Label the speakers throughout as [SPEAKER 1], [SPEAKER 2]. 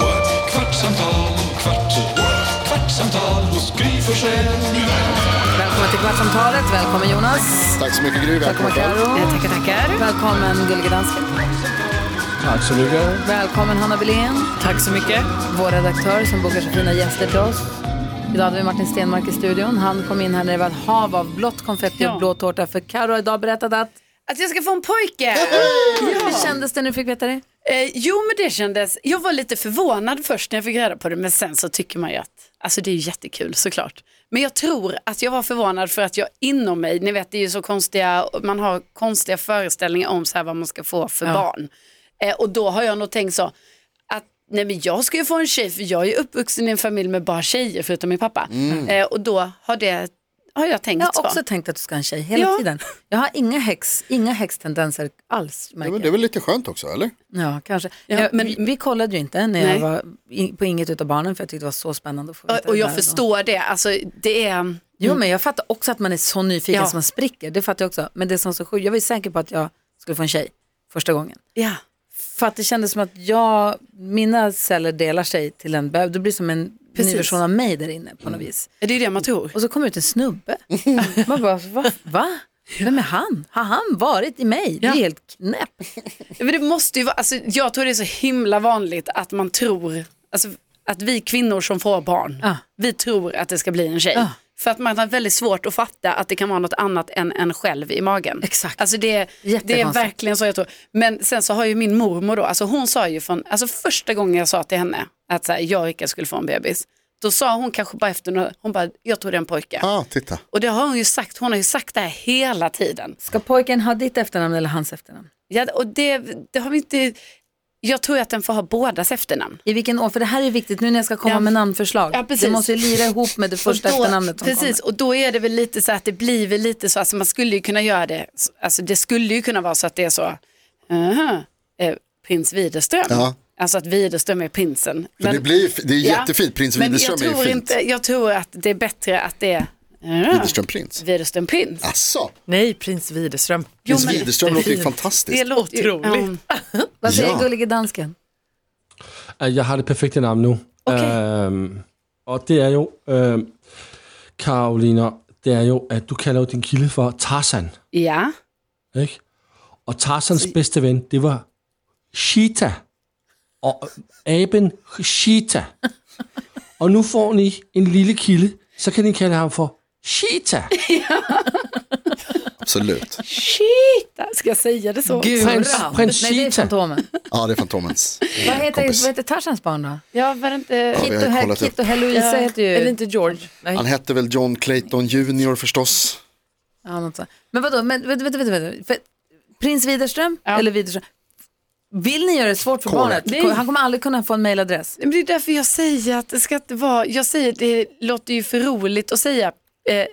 [SPEAKER 1] what? kvartsamtal, kvart, what? kvartsamtal hos Gry Forssell med vänner.
[SPEAKER 2] Välkommen till Kvartsamtalet. Välkommen Jonas.
[SPEAKER 3] Tack så mycket Gry, välkommen själv.
[SPEAKER 2] Karo. Tackar, tackar. Välkommen Gullige Dansken.
[SPEAKER 3] Tack så mycket.
[SPEAKER 2] Välkommen Hanna Billén. Tack så mycket. Vår redaktör som bokar så fina gäster till oss. Idag hade vi Martin Stenmark i studion. Han kom in här när det var ett hav av blått konfetti och blå tårta. För Karo har idag berättat att...
[SPEAKER 4] Att jag ska få en pojke!
[SPEAKER 2] Hur kändes det när du fick veta det?
[SPEAKER 4] Eh, jo men det kändes, jag var lite förvånad först när jag fick reda på det men sen så tycker man ju att, alltså det är ju jättekul såklart. Men jag tror att jag var förvånad för att jag inom mig, ni vet det är ju så konstiga, man har konstiga föreställningar om så här vad man ska få för barn. Eh, och då har jag nog tänkt så, att nej men jag ska ju få en tjej för jag är ju uppvuxen i en familj med bara tjejer förutom min pappa. Eh, och då har det, har jag tänkt
[SPEAKER 2] Jag har
[SPEAKER 4] så.
[SPEAKER 2] också tänkt att du ska ha en tjej hela
[SPEAKER 4] Ja.
[SPEAKER 2] tiden. Jag har inga, häx, inga häxtendenser alls.
[SPEAKER 3] Ja,
[SPEAKER 2] märker
[SPEAKER 3] men
[SPEAKER 2] jag.
[SPEAKER 3] det är väl lite skönt också, eller?
[SPEAKER 2] Ja, kanske.
[SPEAKER 4] Ja,
[SPEAKER 2] Ja,
[SPEAKER 4] men-
[SPEAKER 2] vi, vi kollade ju inte när jag
[SPEAKER 4] Nej.
[SPEAKER 2] var i, på inget utav barnen för jag tyckte det var så spännande att få veta
[SPEAKER 4] Och, och
[SPEAKER 2] det
[SPEAKER 4] jag
[SPEAKER 2] där då.
[SPEAKER 4] förstår det, alltså det är,
[SPEAKER 2] Jo, men jag fattar också att man är så nyfiken
[SPEAKER 4] Ja.
[SPEAKER 2] så man spricker. Det fattar jag också. Men det som så sjukt, jag var ju säker på att jag skulle få en tjej första gången.
[SPEAKER 4] ja.
[SPEAKER 2] För att det kändes som att jag, mina celler delar sig till en bebis. Det blir som en
[SPEAKER 4] Precis. Mm.
[SPEAKER 2] ny version av mig där inne på något vis.
[SPEAKER 4] Det är det man tror.
[SPEAKER 2] Och så kom ut en snubbe. Man bara, va? va? Vem är han? Har han varit i mig? Det är
[SPEAKER 4] Ja.
[SPEAKER 2] helt knäppt.
[SPEAKER 4] Ja, Men det måste ju vara, alltså, jag tror det är så himla vanligt att man tror, alltså, att vi kvinnor som får barn,
[SPEAKER 2] Ja.
[SPEAKER 4] vi tror att det ska bli en tjej.
[SPEAKER 2] Ja.
[SPEAKER 4] För att man har väldigt svårt att fatta att det kan vara något annat än en själv i magen.
[SPEAKER 2] Exakt.
[SPEAKER 4] Alltså det, det är
[SPEAKER 2] Jättekonstigt.
[SPEAKER 4] verkligen så jag tror. Men sen så har ju min mormor då, alltså hon sa ju från, alltså första gången jag sa till henne att så här, jag och Rickard skulle få en bebis, då sa hon kanske bara efter några, hon bara, jag tror det är en pojke.
[SPEAKER 3] Ja, ah, titta.
[SPEAKER 4] Och det har hon ju sagt, hon har ju sagt det här hela tiden.
[SPEAKER 2] Ska pojken ha ditt efternamn eller hans efternamn?
[SPEAKER 4] Ja, och det, det har vi inte... Jag tror att den får ha bådas efternamn.
[SPEAKER 2] I vilken år? För det här är viktigt nu när jag ska komma
[SPEAKER 4] Ja.
[SPEAKER 2] med namnförslag.
[SPEAKER 4] Ja, precis.
[SPEAKER 2] det måste ju lira ihop med det första
[SPEAKER 4] Och då-
[SPEAKER 2] efternamnet som
[SPEAKER 4] Precis, och då är det väl lite så att det blir väl lite så, alltså man skulle ju kunna göra det, alltså det skulle ju kunna vara så att det är så, aha, eh, prins Widerström,
[SPEAKER 3] Ja.
[SPEAKER 4] alltså att Widerström är prinsen.
[SPEAKER 3] Men, det, blir, det är
[SPEAKER 4] Ja.
[SPEAKER 3] jättefint, prins
[SPEAKER 4] Men
[SPEAKER 3] Widerström
[SPEAKER 4] jag tror
[SPEAKER 3] är fint.
[SPEAKER 4] Inte, jag tror att det är bättre att det är aha,
[SPEAKER 3] Widerström prins.
[SPEAKER 4] Widerström prins.
[SPEAKER 3] Asså,
[SPEAKER 5] Nej, prins Widerström.
[SPEAKER 3] prins
[SPEAKER 4] men-
[SPEAKER 3] Widerström låter ju
[SPEAKER 4] Det
[SPEAKER 3] fantastiskt.
[SPEAKER 4] låter ju,
[SPEAKER 5] Otroligt.
[SPEAKER 2] kommer. Vad säger
[SPEAKER 3] Ja.
[SPEAKER 2] gullige dansken?
[SPEAKER 6] At jeg har det perfekte navn nu.
[SPEAKER 4] Okay.
[SPEAKER 6] Øhm, og det er jo, øhm, Karolina, det er jo, at du kalder jo din kilde for Tarzan,
[SPEAKER 4] ja, ja.
[SPEAKER 6] ikke? Og Tarzans bedste ven, det var Cheetah. Og øh, aben Cheetah. og nu får ni en lille kilde, så kan ni kalde ham for Cheetah.
[SPEAKER 3] Absolut.
[SPEAKER 4] Shit, ska jag säga det så?
[SPEAKER 6] Prins, prins
[SPEAKER 2] Nej, det är
[SPEAKER 6] Cheetah.
[SPEAKER 2] Fantomen.
[SPEAKER 3] Ja, det är Fantomens
[SPEAKER 2] Vad heter,
[SPEAKER 3] kompis.
[SPEAKER 2] vad heter Tarzans barn då?
[SPEAKER 4] Ja, var det inte...
[SPEAKER 3] Ja, vi
[SPEAKER 2] Kit
[SPEAKER 3] har
[SPEAKER 2] och,
[SPEAKER 3] ju
[SPEAKER 2] Hel-
[SPEAKER 3] kollat upp.
[SPEAKER 2] Kit och Heloisa heter ju...
[SPEAKER 5] Eller inte George. Nej.
[SPEAKER 3] Han hette väl John Clayton Junior förstås.
[SPEAKER 2] Ja, något sånt. Men vadå, men, vänta, vänta, vänta. vänta. För, prins Widerström
[SPEAKER 4] Ja.
[SPEAKER 2] eller Widerström? Vill ni göra det svårt för
[SPEAKER 3] Correct.
[SPEAKER 4] Nej.
[SPEAKER 2] barnet? Han kommer aldrig kunna få en mailadress.
[SPEAKER 4] Men det är därför jag säger att det ska inte vara, jag säger det låter ju för roligt att säga, eh,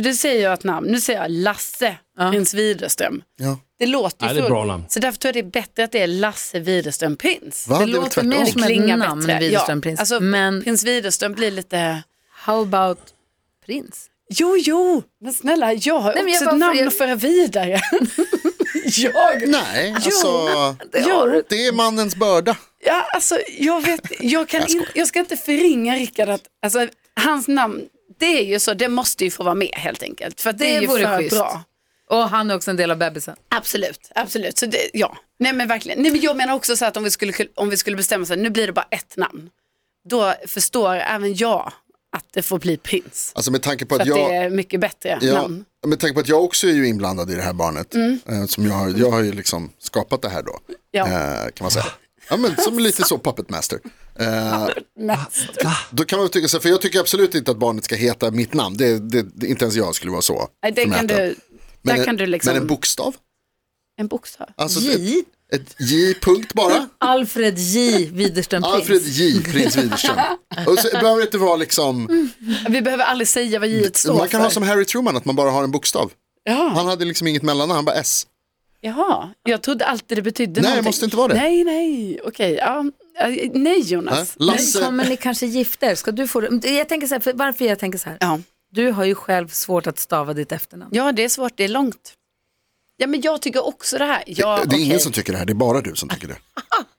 [SPEAKER 4] du säger jag ett namn, nu säger jag Lasse Prins Widerström.
[SPEAKER 3] Ja.
[SPEAKER 4] Det låter ju
[SPEAKER 6] Nej, det är
[SPEAKER 4] för
[SPEAKER 6] bra namn.
[SPEAKER 4] Så därför tror jag det är bättre att det är Lasse Widerström Prins.
[SPEAKER 3] Va?
[SPEAKER 2] Det
[SPEAKER 3] är väl
[SPEAKER 2] låter
[SPEAKER 3] tvärtom.
[SPEAKER 2] mer som ett
[SPEAKER 4] klingar
[SPEAKER 2] namn,
[SPEAKER 4] bättre.
[SPEAKER 2] Widerström
[SPEAKER 4] Ja,
[SPEAKER 2] prins.
[SPEAKER 4] alltså,
[SPEAKER 2] men
[SPEAKER 4] Prins Widerström blir lite,
[SPEAKER 2] how about prins?
[SPEAKER 4] jo jo, men snälla jag har
[SPEAKER 2] Nej, men jag
[SPEAKER 4] också
[SPEAKER 2] bara-
[SPEAKER 4] ett namn
[SPEAKER 2] jag-
[SPEAKER 4] att föra vidare. jag?
[SPEAKER 3] Nej, alltså.
[SPEAKER 4] Jag,
[SPEAKER 3] Det är mannens börda.
[SPEAKER 4] Ja, alltså, jag, vet, jag, kan in, jag ska inte förringa Rickard att alltså, hans namn, det är ju så, det måste ju få vara med helt enkelt. För att det,
[SPEAKER 2] Det
[SPEAKER 4] är ju
[SPEAKER 2] vore
[SPEAKER 4] för
[SPEAKER 2] schysst.
[SPEAKER 4] bra.
[SPEAKER 2] Och han är också en del av bebisen.
[SPEAKER 4] Absolut, absolut. Så det, ja. Nej men verkligen. Nej, men jag menar också så att om vi skulle, om vi skulle bestämma så här, nu blir det bara ett namn. Då förstår även jag att det får bli prins.
[SPEAKER 3] Alltså med tanke på
[SPEAKER 4] För
[SPEAKER 3] att
[SPEAKER 4] att
[SPEAKER 3] jag...
[SPEAKER 4] det är mycket bättre namn. Mm.
[SPEAKER 3] med tanke på att jag också är ju inblandad i det här barnet. eh, Som jag, har- jag har ju liksom skapat det här då.
[SPEAKER 4] Ja. Alltså.
[SPEAKER 3] eh, Kan man säga. Ja, men som lite så puppet master. Eh, då kan man tycka så här, för jag tycker absolut inte att barnet ska heta mitt namn. Det, det, det, inte ens jag skulle vara så.
[SPEAKER 4] Nej, det kan
[SPEAKER 3] förmäten.
[SPEAKER 4] du,
[SPEAKER 3] men,
[SPEAKER 4] där
[SPEAKER 3] en-
[SPEAKER 4] kan du liksom,
[SPEAKER 3] men
[SPEAKER 4] en,
[SPEAKER 3] en bokstav?
[SPEAKER 4] bokstav.
[SPEAKER 3] Alltså,
[SPEAKER 2] J?
[SPEAKER 3] ett, Ett J-punkt bara.
[SPEAKER 2] Alfred J. Widerström Prins.
[SPEAKER 3] Alfred J. Prins Widerström. Och så behöver det inte vara
[SPEAKER 4] Mm,
[SPEAKER 3] liksom,
[SPEAKER 4] Vi behöver aldrig säga vad J står
[SPEAKER 3] man kan
[SPEAKER 4] för.
[SPEAKER 3] ha som Harry Truman att man bara har en bokstav.
[SPEAKER 4] ja.
[SPEAKER 3] Han hade liksom inget mellannamn, han bara S.
[SPEAKER 4] Jaha, jag trodde alltid det betydde
[SPEAKER 3] Nej, det
[SPEAKER 4] någonting.
[SPEAKER 3] måste inte vara det.
[SPEAKER 4] Nej, nej, okej. Ja. eh, Nej, Jonas.
[SPEAKER 3] Nej,
[SPEAKER 2] Men
[SPEAKER 3] Lasse,
[SPEAKER 2] kommer ni kanske gifta er? Ska du få det? Jag tänker så här, för varför jag tänker så här.
[SPEAKER 4] Ja.
[SPEAKER 2] Du har ju själv svårt att stava ditt efternamn.
[SPEAKER 4] ja, det är svårt, det är långt. Ja, men jag tycker också det här. Ja,
[SPEAKER 3] det är
[SPEAKER 4] okej.
[SPEAKER 3] ingen som tycker det här, det är bara du som tycker det.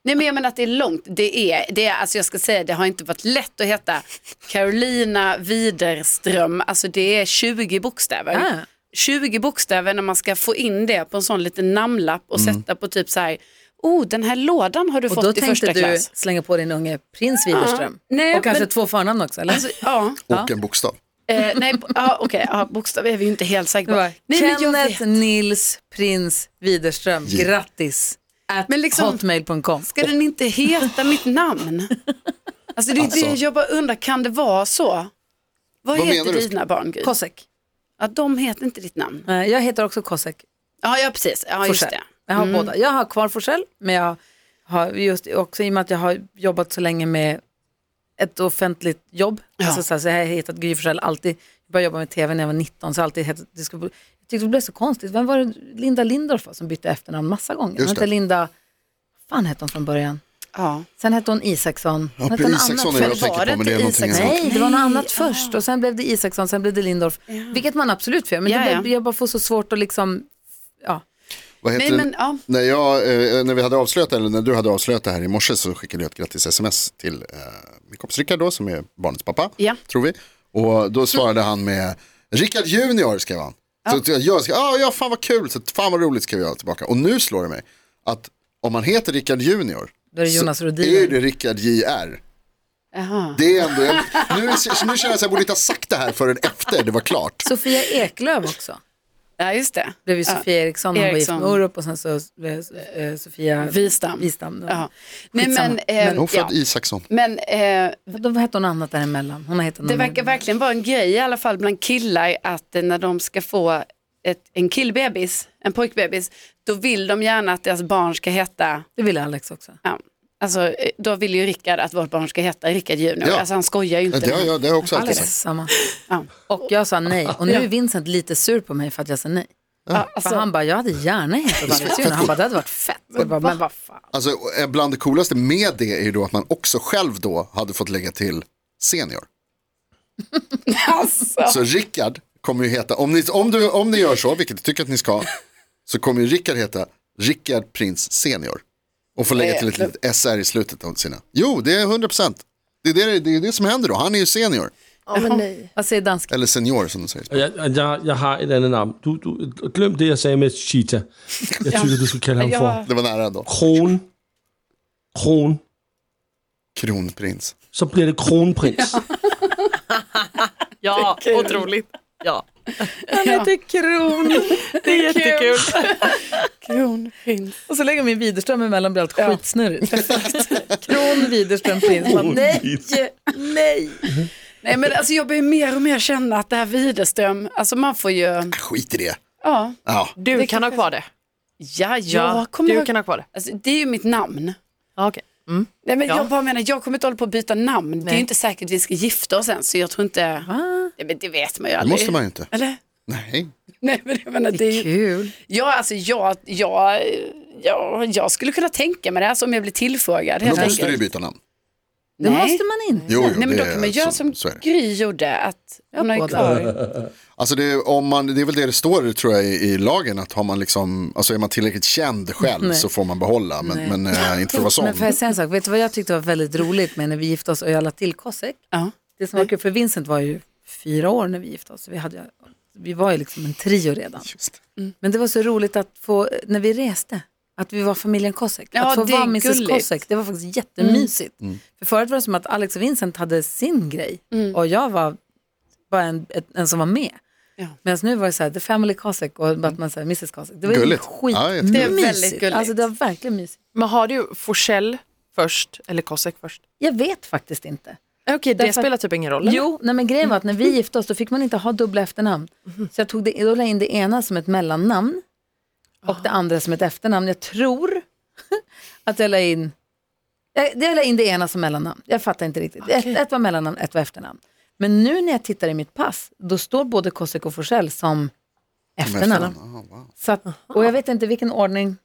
[SPEAKER 4] Nej, men jag menar att det är långt. Det är, det är, alltså jag ska säga, det har inte varit lätt att heta Carolina Widerström. Alltså det är 20 bokstäver.
[SPEAKER 2] Ah.
[SPEAKER 4] 20 bokstäver när man ska få in det på en sån liten namnlapp och
[SPEAKER 3] Mm.
[SPEAKER 4] sätta på typ så här, oh den här lådan har du
[SPEAKER 2] Och då
[SPEAKER 4] fått i första
[SPEAKER 2] tänkte du
[SPEAKER 4] klass.
[SPEAKER 2] slänga på din unge prins Widerström.
[SPEAKER 4] Nej,
[SPEAKER 2] och kanske
[SPEAKER 4] men-
[SPEAKER 2] två förnamn också, eller?
[SPEAKER 4] Alltså, ja,
[SPEAKER 3] Och en bokstav.
[SPEAKER 4] eh, nej, ja, okej, ja, bokstav är vi ju inte helt säkra
[SPEAKER 2] Det
[SPEAKER 4] på.
[SPEAKER 2] var,
[SPEAKER 4] Nej, men jag
[SPEAKER 2] Kenneth
[SPEAKER 4] vet.
[SPEAKER 2] Nils Prins Widerström, grattis. At
[SPEAKER 4] Men liksom-
[SPEAKER 2] hotmail.com.
[SPEAKER 4] Ska den inte heta mitt namn? Alltså det är
[SPEAKER 3] Alltså.
[SPEAKER 4] det jag bara undrar, kan det vara så? Vad,
[SPEAKER 3] Vad
[SPEAKER 4] heter
[SPEAKER 3] menar du?
[SPEAKER 4] dina barn, Gry?
[SPEAKER 2] Kosek.
[SPEAKER 4] Ja, de heter inte ditt namn.
[SPEAKER 2] Eh, Jag heter också Kosek.
[SPEAKER 4] Ja, ja precis. Ja, just
[SPEAKER 2] Forsell.
[SPEAKER 4] det.
[SPEAKER 2] Jag har
[SPEAKER 3] Mm.
[SPEAKER 2] båda. Jag har kvar Forsell, men jag har just också i och med att jag har jobbat så länge med ett offentligt jobb. Alltså, så, här, så jag har hetat Gry Forssell alltid. Jag började jobba med tv när jag var 19, så jag har alltid hetat, det skulle, jag tyckte det blev så konstigt. Vem var det Linda Lindorff var som bytte efternamn massa gånger? Hon
[SPEAKER 3] Just
[SPEAKER 2] hette
[SPEAKER 3] det.
[SPEAKER 2] Linda, vad fan hette hon från början?
[SPEAKER 4] Ja.
[SPEAKER 2] Sen hette hon Isaksson.
[SPEAKER 3] Ja,
[SPEAKER 2] Hon hette något
[SPEAKER 3] Isaksson
[SPEAKER 2] annat
[SPEAKER 3] är det
[SPEAKER 2] först.
[SPEAKER 3] jag tänker på, men det är någonting annat.
[SPEAKER 2] Nej, det var något
[SPEAKER 4] Nej,
[SPEAKER 2] annat
[SPEAKER 4] ja.
[SPEAKER 2] först och sen blev det Isaksson, sen blev det Lindorff. Vilket man absolut får göra, men
[SPEAKER 4] Ja,
[SPEAKER 2] det,
[SPEAKER 4] ja.
[SPEAKER 2] blev- jag bara får så svårt att liksom, ja.
[SPEAKER 3] Vad heter
[SPEAKER 4] Nej,
[SPEAKER 3] den?
[SPEAKER 4] men, ja.
[SPEAKER 3] När, jag, eh, när vi hade avslöjat, eller när du hade avslöjat det här i morse så skickade jag ett grattis sms till eh, min kompis Rickard då som är barnets pappa,
[SPEAKER 4] Ja. Mm.
[SPEAKER 3] tror vi. Och då svarade han med Rickard Junior skrev han. Så att jag- jag skrev, ah, ja fan vad kul, så att, fan vad roligt skrev jag tillbaka. Och nu slår det mig att om man heter Rickard Junior
[SPEAKER 2] Då är det Jonas
[SPEAKER 3] så
[SPEAKER 2] Rhodiner.
[SPEAKER 3] är det Rickard JR. Det är ändå, jag, nu, nu känner jag att jag borde inte ha sagt det här förrän efter det var klart.
[SPEAKER 2] Sofia Eklöf också.
[SPEAKER 4] ja, just det.
[SPEAKER 2] Blev ju
[SPEAKER 4] Ja.
[SPEAKER 2] Sofia Eriksson, hon var gift med
[SPEAKER 4] Eriksson.
[SPEAKER 2] Orup och sen så blev eh, Sofia
[SPEAKER 4] Wistam.
[SPEAKER 2] Wistam.
[SPEAKER 4] Ja.
[SPEAKER 2] Ja.
[SPEAKER 4] Nej, men, eh,
[SPEAKER 3] Hon
[SPEAKER 4] ja.
[SPEAKER 3] född Isaksson.
[SPEAKER 4] men eh,
[SPEAKER 2] Då hette hon annat däremellan. Hon har hetat
[SPEAKER 4] det
[SPEAKER 3] Mm.
[SPEAKER 2] någon-
[SPEAKER 4] verkar verkligen vara en grej i alla fall bland killar att eh, när de ska få ett, en killbebis, en pojkbebis, då vill de gärna att deras barn ska heta,
[SPEAKER 2] Det ville Alex också.
[SPEAKER 4] ja, alltså, eh, då vill ju Rickard att vårt barn ska heta Rickard Junior.
[SPEAKER 3] Ja.
[SPEAKER 4] Alltså han skojar ju
[SPEAKER 3] Ja,
[SPEAKER 4] inte.
[SPEAKER 3] det har jag, det har jag också alltid sagt.
[SPEAKER 2] Samma.
[SPEAKER 4] Ja.
[SPEAKER 2] Och jag sa nej. Och nu är Vincent lite sur på mig för att jag sa nej.
[SPEAKER 4] Ja,
[SPEAKER 2] För
[SPEAKER 4] alltså,
[SPEAKER 2] han bara, jag hade gärna hetat Alex Junior. Han bara, det hade varit fett. Jag bara, men vad fan.
[SPEAKER 3] Alltså, eh, bland det coolaste med det är ju då att man också själv då hade fått lägga till senior. Så Rickard kommer ju heta, om ni, om, du, om ni gör så, vilket jag tycker att ni ska, så kommer ju Rickard heta Rickard Prins Senior. Och få lägga till ett litet SR i slutet av sina. Jo, det är 100%. Det är det, det, är det som händer då, han är ju senior.
[SPEAKER 5] Ja, men nej.
[SPEAKER 2] Vad säger dansk?
[SPEAKER 3] Eller senior som de säger.
[SPEAKER 6] Og Jeg, og jeg, jeg har et andet navn. Du, du, glem det, jeg sagde med Cheetah. Jeg synes, du skulle kalde ham for
[SPEAKER 3] Det var nära då.
[SPEAKER 6] Kron. Kron.
[SPEAKER 3] Kronprins.
[SPEAKER 6] Så bliver det Kronprins.
[SPEAKER 5] Ja, otroligt. Ja.
[SPEAKER 2] Han heter Kron.
[SPEAKER 5] Det är jättekul.
[SPEAKER 2] Och så lägger min Widerström emellan blir allt skitsnurrigt. Kron, Widerström, prins. Man, Nej, nej.
[SPEAKER 4] nej, men alltså, jag börjar mer och mer känna att det här Widerström, alltså man får ju,
[SPEAKER 3] Skit i det.
[SPEAKER 4] ja,
[SPEAKER 3] Ja.
[SPEAKER 5] Du kan ha kvar det.
[SPEAKER 4] ja, jag kommer
[SPEAKER 5] du
[SPEAKER 4] ihåg-
[SPEAKER 5] kan ha kvar det.
[SPEAKER 4] Alltså, det är ju mitt namn.
[SPEAKER 5] Ja, okej. Mm.
[SPEAKER 4] Nej, men
[SPEAKER 5] Ja.
[SPEAKER 4] Jag bara menar, jag kommer inte hålla på att byta namn. Det är ju inte säkert vi ska gifta oss än, så jag tror inte... Nej, men det vet man ju
[SPEAKER 3] Det
[SPEAKER 4] aldrig.
[SPEAKER 3] måste man ju inte.
[SPEAKER 4] Eller?
[SPEAKER 3] Nej.
[SPEAKER 4] Nej, men jag menar, det är ju...
[SPEAKER 2] Kul.
[SPEAKER 4] Ja, alltså jag, jag, jag, jag skulle kunna tänka mig det här som jag blir tillfrågad.
[SPEAKER 3] Men
[SPEAKER 4] helt
[SPEAKER 3] då måste du ju
[SPEAKER 4] enkelt.
[SPEAKER 3] byta namn.
[SPEAKER 2] Det
[SPEAKER 4] Nej.
[SPEAKER 2] måste man inte.
[SPEAKER 3] Jo, jo,
[SPEAKER 4] Nej, men
[SPEAKER 3] det
[SPEAKER 4] då
[SPEAKER 3] är- alltså
[SPEAKER 4] kan man göra som,
[SPEAKER 3] så är det.
[SPEAKER 4] Gry gjorde, att hon har ju
[SPEAKER 2] båda.
[SPEAKER 4] kvar.
[SPEAKER 3] Alltså det, om man, det är väl det det står tror jag i, i lagen, att har man liksom, alltså är man tillräckligt känd själv
[SPEAKER 2] Nej.
[SPEAKER 3] så får man behålla, men, men eh, inte för att vara sån.
[SPEAKER 2] Men får jag säga en sak? Vet du vad jag tyckte var väldigt roligt med när vi gifte oss och jag la till Kosek?
[SPEAKER 4] Ja.
[SPEAKER 2] Det som var kul för Vincent var ju fyra år när vi gifte oss. Vi, hade, ju- vi var ju liksom en trio redan. Mm. Men det var så roligt att få, när vi reste, att vi var familjen Kosek.
[SPEAKER 4] Ja,
[SPEAKER 2] att få
[SPEAKER 4] det är
[SPEAKER 2] vara Mrs
[SPEAKER 4] gulligt. Mm.
[SPEAKER 2] Kosek, det var faktiskt jättemysigt. För förut var det som att Alex och Vincent hade sin grej
[SPEAKER 4] Mm.
[SPEAKER 2] och jag var bara en, ett- en som var med.
[SPEAKER 4] Ja. Mm.
[SPEAKER 2] Medan nu var det så här, the family Kosek och att man säger Mrs Kosek. Det var ju
[SPEAKER 3] Gulligt. Ja,
[SPEAKER 2] skitmysigt.
[SPEAKER 3] jättekul.
[SPEAKER 4] Det är väldigt gulligt.
[SPEAKER 2] Alltså det var verkligen mysigt.
[SPEAKER 5] Men har du Forsell först eller Kosek först?
[SPEAKER 2] Jag vet faktiskt inte.
[SPEAKER 5] Okej, det
[SPEAKER 2] Därför-
[SPEAKER 5] spelar typ ingen roll. eller?
[SPEAKER 2] Jo, nej men grejen var att när vi gifte oss då fick man inte ha dubbla efternamn.
[SPEAKER 3] Mhm.
[SPEAKER 2] Så jag tog det,
[SPEAKER 3] Ah.
[SPEAKER 2] då la jag in det ena som ett mellannamn och det andra som ett efternamn. Jag tror Att jag la in, jag, jag la in det ena som mellannamn. Jag fattar inte riktigt. Ett, ett var mellannamn, ett var efternamn. Men nu när jag tittar i mitt pass, då står både Kosek och Forsell som efternamn.
[SPEAKER 3] Ah, wow.
[SPEAKER 2] Så att, och jag vet inte vilken ordning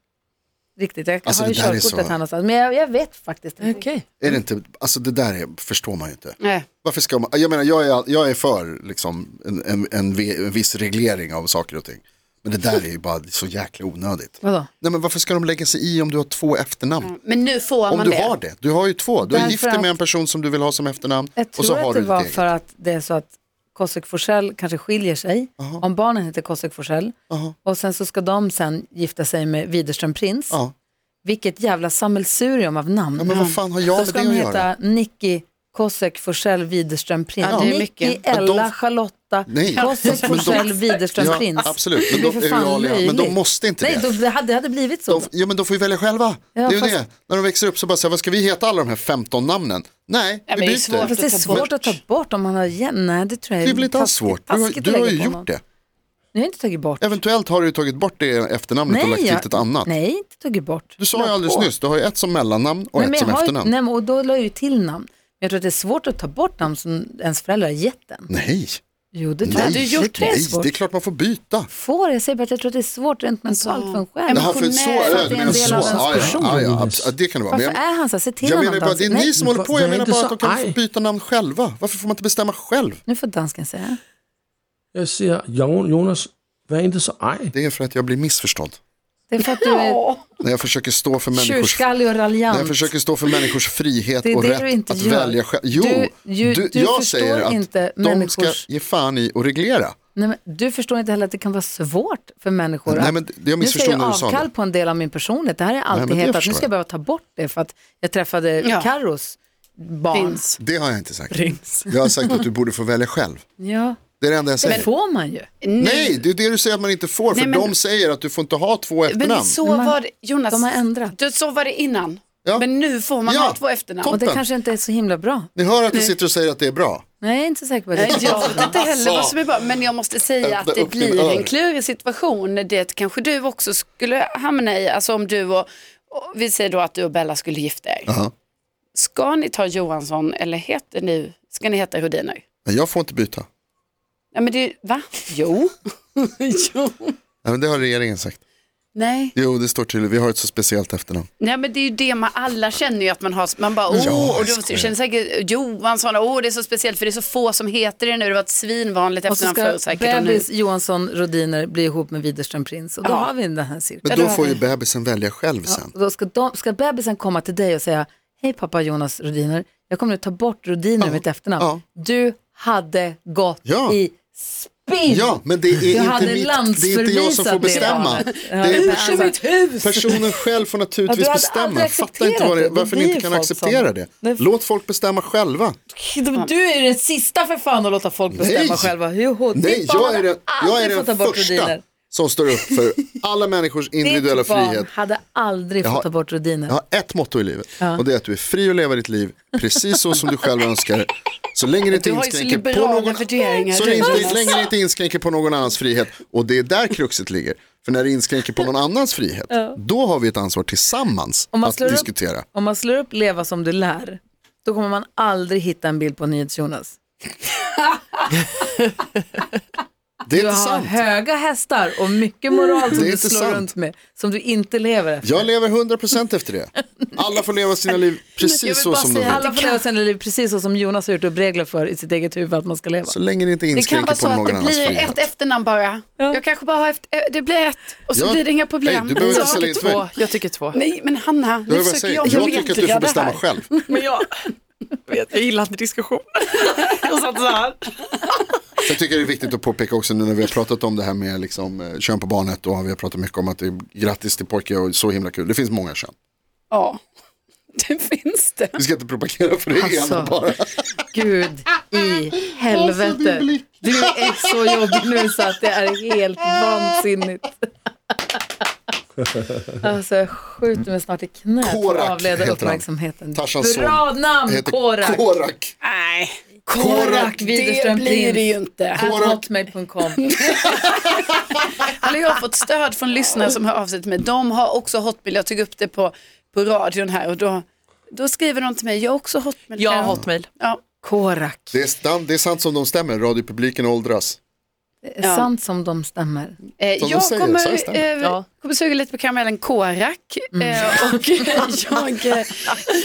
[SPEAKER 2] riktigt. Jag
[SPEAKER 3] Alltså,
[SPEAKER 2] har ju
[SPEAKER 3] det där är
[SPEAKER 2] körkortet
[SPEAKER 3] så-
[SPEAKER 2] här någonstans. Men jag, jag vet faktiskt inte.
[SPEAKER 5] Okej.
[SPEAKER 3] Är det inte, alltså det där är, förstår man ju inte.
[SPEAKER 4] Nej.
[SPEAKER 3] Varför ska man, jag menar jag är, jag är för liksom en, en, en, ve- en viss reglering av saker och ting. Men det där är ju bara så jäkla onödigt.
[SPEAKER 2] Vadå?
[SPEAKER 3] Nej men varför ska de lägga sig i om du har två efternamn?
[SPEAKER 4] Men nu får
[SPEAKER 3] Om
[SPEAKER 4] man
[SPEAKER 3] du
[SPEAKER 4] det.
[SPEAKER 3] har det, du har ju två. Du är
[SPEAKER 2] Därför
[SPEAKER 3] gift dig
[SPEAKER 2] att-
[SPEAKER 3] med en person som du vill ha som efternamn
[SPEAKER 2] Jag
[SPEAKER 3] och så
[SPEAKER 2] tror
[SPEAKER 3] har
[SPEAKER 2] att
[SPEAKER 3] du
[SPEAKER 2] det
[SPEAKER 3] ditt
[SPEAKER 2] var
[SPEAKER 3] eget.
[SPEAKER 2] för att det är så att Kosek Forsell kanske skiljer sig. Om barnen heter Kosek Forsell. Och sen så ska de sen gifta sig med Widerström Prins.
[SPEAKER 3] Ja.
[SPEAKER 2] Vilket jävla sammelsurium av namn.
[SPEAKER 3] ja men vad fan har
[SPEAKER 2] Då
[SPEAKER 3] jag med
[SPEAKER 2] ska
[SPEAKER 3] det
[SPEAKER 2] de
[SPEAKER 3] att göra?
[SPEAKER 2] heta Nicky Kosek Forsell Widerström Prins.
[SPEAKER 4] Ja, det är
[SPEAKER 2] Nicky,
[SPEAKER 4] mycket.
[SPEAKER 3] Men de-
[SPEAKER 2] Ella, Charlotta,
[SPEAKER 3] Nej.
[SPEAKER 2] Kosek
[SPEAKER 3] Men de-
[SPEAKER 2] Forsell Widerström
[SPEAKER 3] Ja,
[SPEAKER 2] Prins.
[SPEAKER 3] absolut. Men
[SPEAKER 2] Det blir
[SPEAKER 3] då
[SPEAKER 2] för
[SPEAKER 3] är
[SPEAKER 2] fan
[SPEAKER 3] vi aliga. Men de
[SPEAKER 2] löjligt.
[SPEAKER 3] måste inte
[SPEAKER 2] Nej,
[SPEAKER 3] det.
[SPEAKER 2] då- det. hade, det hade blivit så.
[SPEAKER 3] De, ja men de får ju välja själva. det är ju
[SPEAKER 2] fast-
[SPEAKER 3] det. När de växer upp så bara säger vad ska vi heta alla de här 15 namnen? Nej,
[SPEAKER 4] Ja,
[SPEAKER 3] vi
[SPEAKER 4] men det
[SPEAKER 3] byter.
[SPEAKER 4] är svårt.
[SPEAKER 2] Fast det är
[SPEAKER 4] att ta
[SPEAKER 2] svårt
[SPEAKER 4] bort.
[SPEAKER 2] att ta bort om man har igen. Nej, det tror jag
[SPEAKER 3] Det är väl inte alls
[SPEAKER 2] taskigt-
[SPEAKER 3] svårt. Du har,
[SPEAKER 2] taskigt
[SPEAKER 3] du
[SPEAKER 2] att
[SPEAKER 3] har
[SPEAKER 2] lägga
[SPEAKER 3] ju
[SPEAKER 2] på någon.
[SPEAKER 3] gjort det.
[SPEAKER 2] Nu har jag inte tagit bort.
[SPEAKER 3] Eventuellt har du ju tagit bort det efternamnet och lagt
[SPEAKER 2] jag-
[SPEAKER 3] till ett annat.
[SPEAKER 2] Nej, inte tagit bort.
[SPEAKER 3] Du sa ju alldeles nyss, du har ju ett som mellannamn och
[SPEAKER 2] nej, men
[SPEAKER 3] ett som
[SPEAKER 2] jag har, ju-
[SPEAKER 3] efternamn.
[SPEAKER 2] Nej, men- och då la jag ju till namn. Men jag tror att det är svårt att ta bort namn som ens föräldrar har gett en.
[SPEAKER 3] Nej,
[SPEAKER 2] Jo, det tror
[SPEAKER 3] nej,
[SPEAKER 2] jag. det är
[SPEAKER 3] nej,
[SPEAKER 2] svårt.
[SPEAKER 3] det är klart man får byta.
[SPEAKER 2] Får jag säga bara att jag tror att det är svårt rent mentalt för en själv.
[SPEAKER 3] Jaha, för så,
[SPEAKER 4] Emotionellt,
[SPEAKER 3] ja,
[SPEAKER 2] det
[SPEAKER 3] du
[SPEAKER 2] är
[SPEAKER 3] menar
[SPEAKER 2] en del
[SPEAKER 3] så.
[SPEAKER 2] av ens
[SPEAKER 3] Ja, ja,
[SPEAKER 2] person.
[SPEAKER 3] ja, ja, abs- ja, det kan det vara. Men
[SPEAKER 2] Varför
[SPEAKER 3] jag,
[SPEAKER 2] är han så här? Se till
[SPEAKER 3] jag
[SPEAKER 2] honom.
[SPEAKER 3] menar bara, det är
[SPEAKER 2] dansken.
[SPEAKER 3] ni som håller på, jag
[SPEAKER 6] det är
[SPEAKER 3] menar
[SPEAKER 6] inte
[SPEAKER 3] bara att
[SPEAKER 6] så-
[SPEAKER 3] de kan få
[SPEAKER 6] nej.
[SPEAKER 3] byta namn själva. Varför får man inte bestämma själv?
[SPEAKER 2] Nu får dansken säga.
[SPEAKER 6] Jag säger, "Jo- Jonas, var inte så arg.
[SPEAKER 3] Det är för att jag blir missförstådd.
[SPEAKER 2] Det är för att du är
[SPEAKER 3] När jag försöker stå för människors,
[SPEAKER 2] tjurskallig och
[SPEAKER 3] när
[SPEAKER 2] raljant.
[SPEAKER 3] jag försöker stå för människors frihet
[SPEAKER 2] Det är
[SPEAKER 3] och
[SPEAKER 2] det du
[SPEAKER 3] rätt
[SPEAKER 2] inte
[SPEAKER 3] att
[SPEAKER 2] gör.
[SPEAKER 3] välja själv. Jo,
[SPEAKER 2] Du- ju- du
[SPEAKER 3] jag
[SPEAKER 2] förstår
[SPEAKER 3] säger att
[SPEAKER 2] inte
[SPEAKER 3] de
[SPEAKER 2] människors-
[SPEAKER 3] ska ge fan i och reglera.
[SPEAKER 2] Nej, men du förstår inte heller att det kan vara svårt för människor.
[SPEAKER 3] Nej,
[SPEAKER 2] att-
[SPEAKER 3] men jag
[SPEAKER 2] nu
[SPEAKER 3] missförstod
[SPEAKER 2] säger jag
[SPEAKER 3] när du sa
[SPEAKER 2] avkall
[SPEAKER 3] det.
[SPEAKER 2] på en del av min personlighet. Det här är
[SPEAKER 3] men
[SPEAKER 2] alltid
[SPEAKER 3] det
[SPEAKER 2] hetat. Nu
[SPEAKER 3] förstår
[SPEAKER 2] ska
[SPEAKER 3] jag.
[SPEAKER 2] jag behöva ta bort det för att jag träffade
[SPEAKER 4] Ja.
[SPEAKER 2] Carros barn.
[SPEAKER 4] Finns.
[SPEAKER 3] Det har jag inte sagt. Jag har sagt att du borde få välja själv.
[SPEAKER 2] Ja,
[SPEAKER 3] Det är det enda jag
[SPEAKER 2] det
[SPEAKER 3] säger.
[SPEAKER 2] får man ju.
[SPEAKER 3] Nej, det är det du säger att man inte får, för
[SPEAKER 4] Nej, men-
[SPEAKER 3] de säger att du får inte ha två
[SPEAKER 4] Men
[SPEAKER 3] efternamn.
[SPEAKER 4] så
[SPEAKER 2] Man-
[SPEAKER 4] var det, Jonas,
[SPEAKER 2] de har ändrat.
[SPEAKER 4] Du, så var det innan.
[SPEAKER 3] Ja.
[SPEAKER 4] Men nu får man
[SPEAKER 3] Ja.
[SPEAKER 4] ha två efternamn.
[SPEAKER 2] Och det
[SPEAKER 3] Toppen.
[SPEAKER 2] kanske inte är så himla bra.
[SPEAKER 3] Ni hör att jag sitter och säger att det är bra.
[SPEAKER 2] Nej, jag är inte så säker på
[SPEAKER 4] Nej,
[SPEAKER 2] det.
[SPEAKER 4] Jag vet inte heller vad som är bra, men jag måste säga att
[SPEAKER 3] Öppna
[SPEAKER 4] det
[SPEAKER 3] upp din
[SPEAKER 4] blir en
[SPEAKER 3] ör.
[SPEAKER 4] klurig situation. Det kanske du också skulle hamna i, alltså om du och, och vi säger då att du och Bella skulle gifta er.
[SPEAKER 3] Aha.
[SPEAKER 4] Ska ni ta Johansson eller heter ni, ska ni heta Rhodiner?
[SPEAKER 3] Men jag får inte byta.
[SPEAKER 4] Ja men det, va? Jo. jo.
[SPEAKER 3] Nej, men det har regeringen sagt.
[SPEAKER 4] Nej.
[SPEAKER 3] Jo, det står tydligt. Vi har ett så speciellt efternamn.
[SPEAKER 4] Nej men det är ju det man, alla känner ju att man har, man bara åh,
[SPEAKER 3] Ja,
[SPEAKER 4] och
[SPEAKER 3] jag
[SPEAKER 4] då
[SPEAKER 3] skojar.
[SPEAKER 4] känner säkert Johansson, åh det är så speciellt för det är så få som heter det nu, det var ett svinvanligt
[SPEAKER 2] Och så
[SPEAKER 4] efternamn förut
[SPEAKER 2] ska
[SPEAKER 4] säkert. och nu-
[SPEAKER 2] bebis Johansson Rodiner bli ihop med Widerström Prins och då
[SPEAKER 4] Ja.
[SPEAKER 2] har vi den här cirkeln.
[SPEAKER 3] Men
[SPEAKER 4] det
[SPEAKER 3] då
[SPEAKER 4] har
[SPEAKER 3] får ju
[SPEAKER 4] vi.
[SPEAKER 3] bebisen välja själv sen.
[SPEAKER 2] Och Då ska, de, ska bebisen komma till dig och säga, hej pappa Jonas Rodiner, jag kommer nu ta bort Rodiner mitt efternamn. Du hade gått
[SPEAKER 3] Ja.
[SPEAKER 2] i spinn.
[SPEAKER 3] Ja, men det
[SPEAKER 2] Du
[SPEAKER 3] är
[SPEAKER 2] hade
[SPEAKER 3] inte mitt. Det är inte jag som får
[SPEAKER 2] landsförvisat
[SPEAKER 3] bestämma.
[SPEAKER 2] det
[SPEAKER 3] Det
[SPEAKER 2] barnet. Ja,
[SPEAKER 3] är
[SPEAKER 2] men
[SPEAKER 3] personen,
[SPEAKER 2] alltså-
[SPEAKER 3] personen själv får naturligtvis
[SPEAKER 2] hade
[SPEAKER 3] bestämma.
[SPEAKER 2] aldrig
[SPEAKER 3] Jag fattar inte
[SPEAKER 2] accepterat
[SPEAKER 3] vad
[SPEAKER 2] det.
[SPEAKER 3] det,
[SPEAKER 2] Det
[SPEAKER 3] varför ni
[SPEAKER 2] blir
[SPEAKER 3] inte kan
[SPEAKER 2] folk
[SPEAKER 3] acceptera
[SPEAKER 2] som-
[SPEAKER 3] det.
[SPEAKER 2] Nej.
[SPEAKER 3] Låt folk bestämma själva.
[SPEAKER 2] Du är ju den sista för fan att låta folk bestämma
[SPEAKER 3] Nej.
[SPEAKER 2] själva. Joho,
[SPEAKER 3] Nej,
[SPEAKER 2] ditt barn
[SPEAKER 3] jag är
[SPEAKER 2] hade
[SPEAKER 3] den, jag är
[SPEAKER 2] aldrig fått ta
[SPEAKER 3] den
[SPEAKER 2] bort
[SPEAKER 3] första
[SPEAKER 2] Rodiner.
[SPEAKER 3] som står upp för alla människors individuella
[SPEAKER 2] Ditt barn
[SPEAKER 3] frihet.
[SPEAKER 2] hade aldrig
[SPEAKER 3] Jag har-
[SPEAKER 2] fått ta bort Rodiner.
[SPEAKER 3] Jag har ett motto i livet och det är att du är fri att leva ditt liv precis så som du själv önskar. Så länge det inte
[SPEAKER 4] Du har ju så
[SPEAKER 3] inskränker på
[SPEAKER 4] liberala
[SPEAKER 3] någon
[SPEAKER 4] värderingar,
[SPEAKER 3] Så
[SPEAKER 4] du,
[SPEAKER 3] det inte,
[SPEAKER 4] Jonas.
[SPEAKER 3] så länge det inte inskränker på någon annans frihet och det är där kruxet ligger. För när det inskränker på någon annans frihet, då har vi ett ansvar tillsammans
[SPEAKER 2] Om man
[SPEAKER 3] att
[SPEAKER 2] slår upp-
[SPEAKER 3] diskutera.
[SPEAKER 2] Om man slår upp leva som du lär, då kommer man aldrig hitta en bild på NyhetsJonas.
[SPEAKER 3] Det är
[SPEAKER 2] Du
[SPEAKER 3] inte
[SPEAKER 2] har
[SPEAKER 3] sant.
[SPEAKER 2] höga hästar och mycket moral som
[SPEAKER 3] Det är
[SPEAKER 2] du
[SPEAKER 3] inte
[SPEAKER 2] slår
[SPEAKER 3] sant.
[SPEAKER 2] runt med, som du inte lever efter.
[SPEAKER 3] Jag lever 100% efter det. Alla får leva sina liv
[SPEAKER 4] Jag
[SPEAKER 3] precis
[SPEAKER 4] vill
[SPEAKER 3] så
[SPEAKER 4] bara
[SPEAKER 3] som de
[SPEAKER 4] säga
[SPEAKER 3] vill.
[SPEAKER 2] Alla får leva sina liv precis så som Jonas har gjort upp regler för i sitt eget huvud att man ska leva.
[SPEAKER 3] Så länge det inte
[SPEAKER 4] Det kan
[SPEAKER 3] inskränker
[SPEAKER 4] vara
[SPEAKER 3] på
[SPEAKER 4] så att
[SPEAKER 3] någon
[SPEAKER 4] det
[SPEAKER 3] annans
[SPEAKER 4] blir ett
[SPEAKER 3] frihet.
[SPEAKER 4] efternamn bara. Jag kanske bara har ett, eh, det blir ett och så
[SPEAKER 3] Ja.
[SPEAKER 4] blir det inga problem.
[SPEAKER 3] Nej, du behöver
[SPEAKER 4] Så-
[SPEAKER 3] inte ställa in
[SPEAKER 5] Två. Jag tycker två.
[SPEAKER 4] Nej men Hanna,
[SPEAKER 3] Jag,
[SPEAKER 4] nu
[SPEAKER 3] vill bara
[SPEAKER 4] försöker
[SPEAKER 3] säga,
[SPEAKER 4] jag
[SPEAKER 3] jag tycker att du
[SPEAKER 4] medla
[SPEAKER 3] får
[SPEAKER 4] det
[SPEAKER 3] bestämma
[SPEAKER 4] här.
[SPEAKER 3] själv.
[SPEAKER 5] Men jag, vet, jag gillar inte diskussion. jag satt så här.
[SPEAKER 3] Jag tycker det är viktigt att påpeka också nu när vi har pratat om det här med liksom, eh, kön på barnet och vi har pratat mycket om att det är grattis till pojke och så himla kul. Det finns många kön.
[SPEAKER 4] Ja, det finns det.
[SPEAKER 3] Vi ska inte propagera för det ena
[SPEAKER 2] Alltså.
[SPEAKER 3] bara.
[SPEAKER 2] Gud i helvete. Du är så jobbig nu så att det är helt vansinnigt. Alltså jag skjuter mig snart i knät för
[SPEAKER 3] Korak
[SPEAKER 2] att avleda
[SPEAKER 3] heter han.
[SPEAKER 2] uppmärksamheten.
[SPEAKER 3] Tarzans son
[SPEAKER 2] Bra namn,
[SPEAKER 3] heter
[SPEAKER 2] Korak.
[SPEAKER 3] Korak.
[SPEAKER 4] Nej,
[SPEAKER 2] Korak
[SPEAKER 4] det
[SPEAKER 2] Widerström
[SPEAKER 4] blir det
[SPEAKER 2] Prins.
[SPEAKER 4] ju inte.
[SPEAKER 3] Korak.
[SPEAKER 2] Hotmail.com.
[SPEAKER 4] Alltså, jag har fått stöd från lyssnare som hör av sig till mig. De har också hotmail. Jag tog upp det på på radion här och då, då skriver de till mig, jag har också hotmail.
[SPEAKER 5] Jag har hotmail.
[SPEAKER 4] Ja,
[SPEAKER 2] Korak.
[SPEAKER 3] Det är, stan, det är sant som de stämmer, radiopubliken åldras.
[SPEAKER 2] Det är
[SPEAKER 4] Ja.
[SPEAKER 2] sant som de stämmer.
[SPEAKER 4] Eh,
[SPEAKER 3] Som de
[SPEAKER 4] jag
[SPEAKER 3] säger, så är det
[SPEAKER 4] kommer,
[SPEAKER 3] stämt. Mm.
[SPEAKER 4] eh,
[SPEAKER 5] Ja.
[SPEAKER 4] kommer suga lite på karamellen Korak eh, och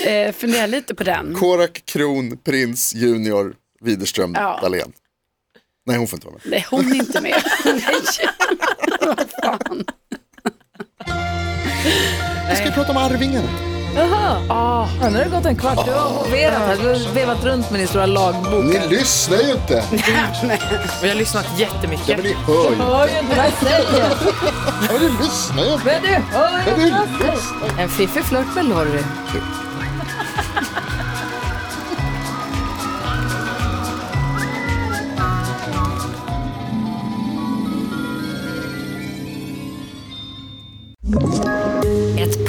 [SPEAKER 4] jag eh, funderar lite på den.
[SPEAKER 3] Korak, Kron, Prins, Junior, Widerström,
[SPEAKER 4] Ja.
[SPEAKER 3] Dahlén. Nej, hon får inte vara med.
[SPEAKER 4] Nej, hon är inte med. Nej.
[SPEAKER 3] Vi ska prata om Arvingarna.
[SPEAKER 2] Ja, nu har det gått en kvart, du har hoverat här, du har vevat runt med din stora lagbok.
[SPEAKER 3] Ni lyssnar ju inte.
[SPEAKER 5] Men jag har lyssnat
[SPEAKER 3] Ja,
[SPEAKER 5] jättemycket.
[SPEAKER 3] men ni hör ju.
[SPEAKER 2] Hör ju inte vad jag säger,
[SPEAKER 3] Ja, ni lyssnar ju inte.
[SPEAKER 2] men du hör ju inte
[SPEAKER 3] Ja, ni
[SPEAKER 2] vad jag säger.
[SPEAKER 3] lyssnar.
[SPEAKER 2] En fiffig flört med Lorry.
[SPEAKER 7] Ett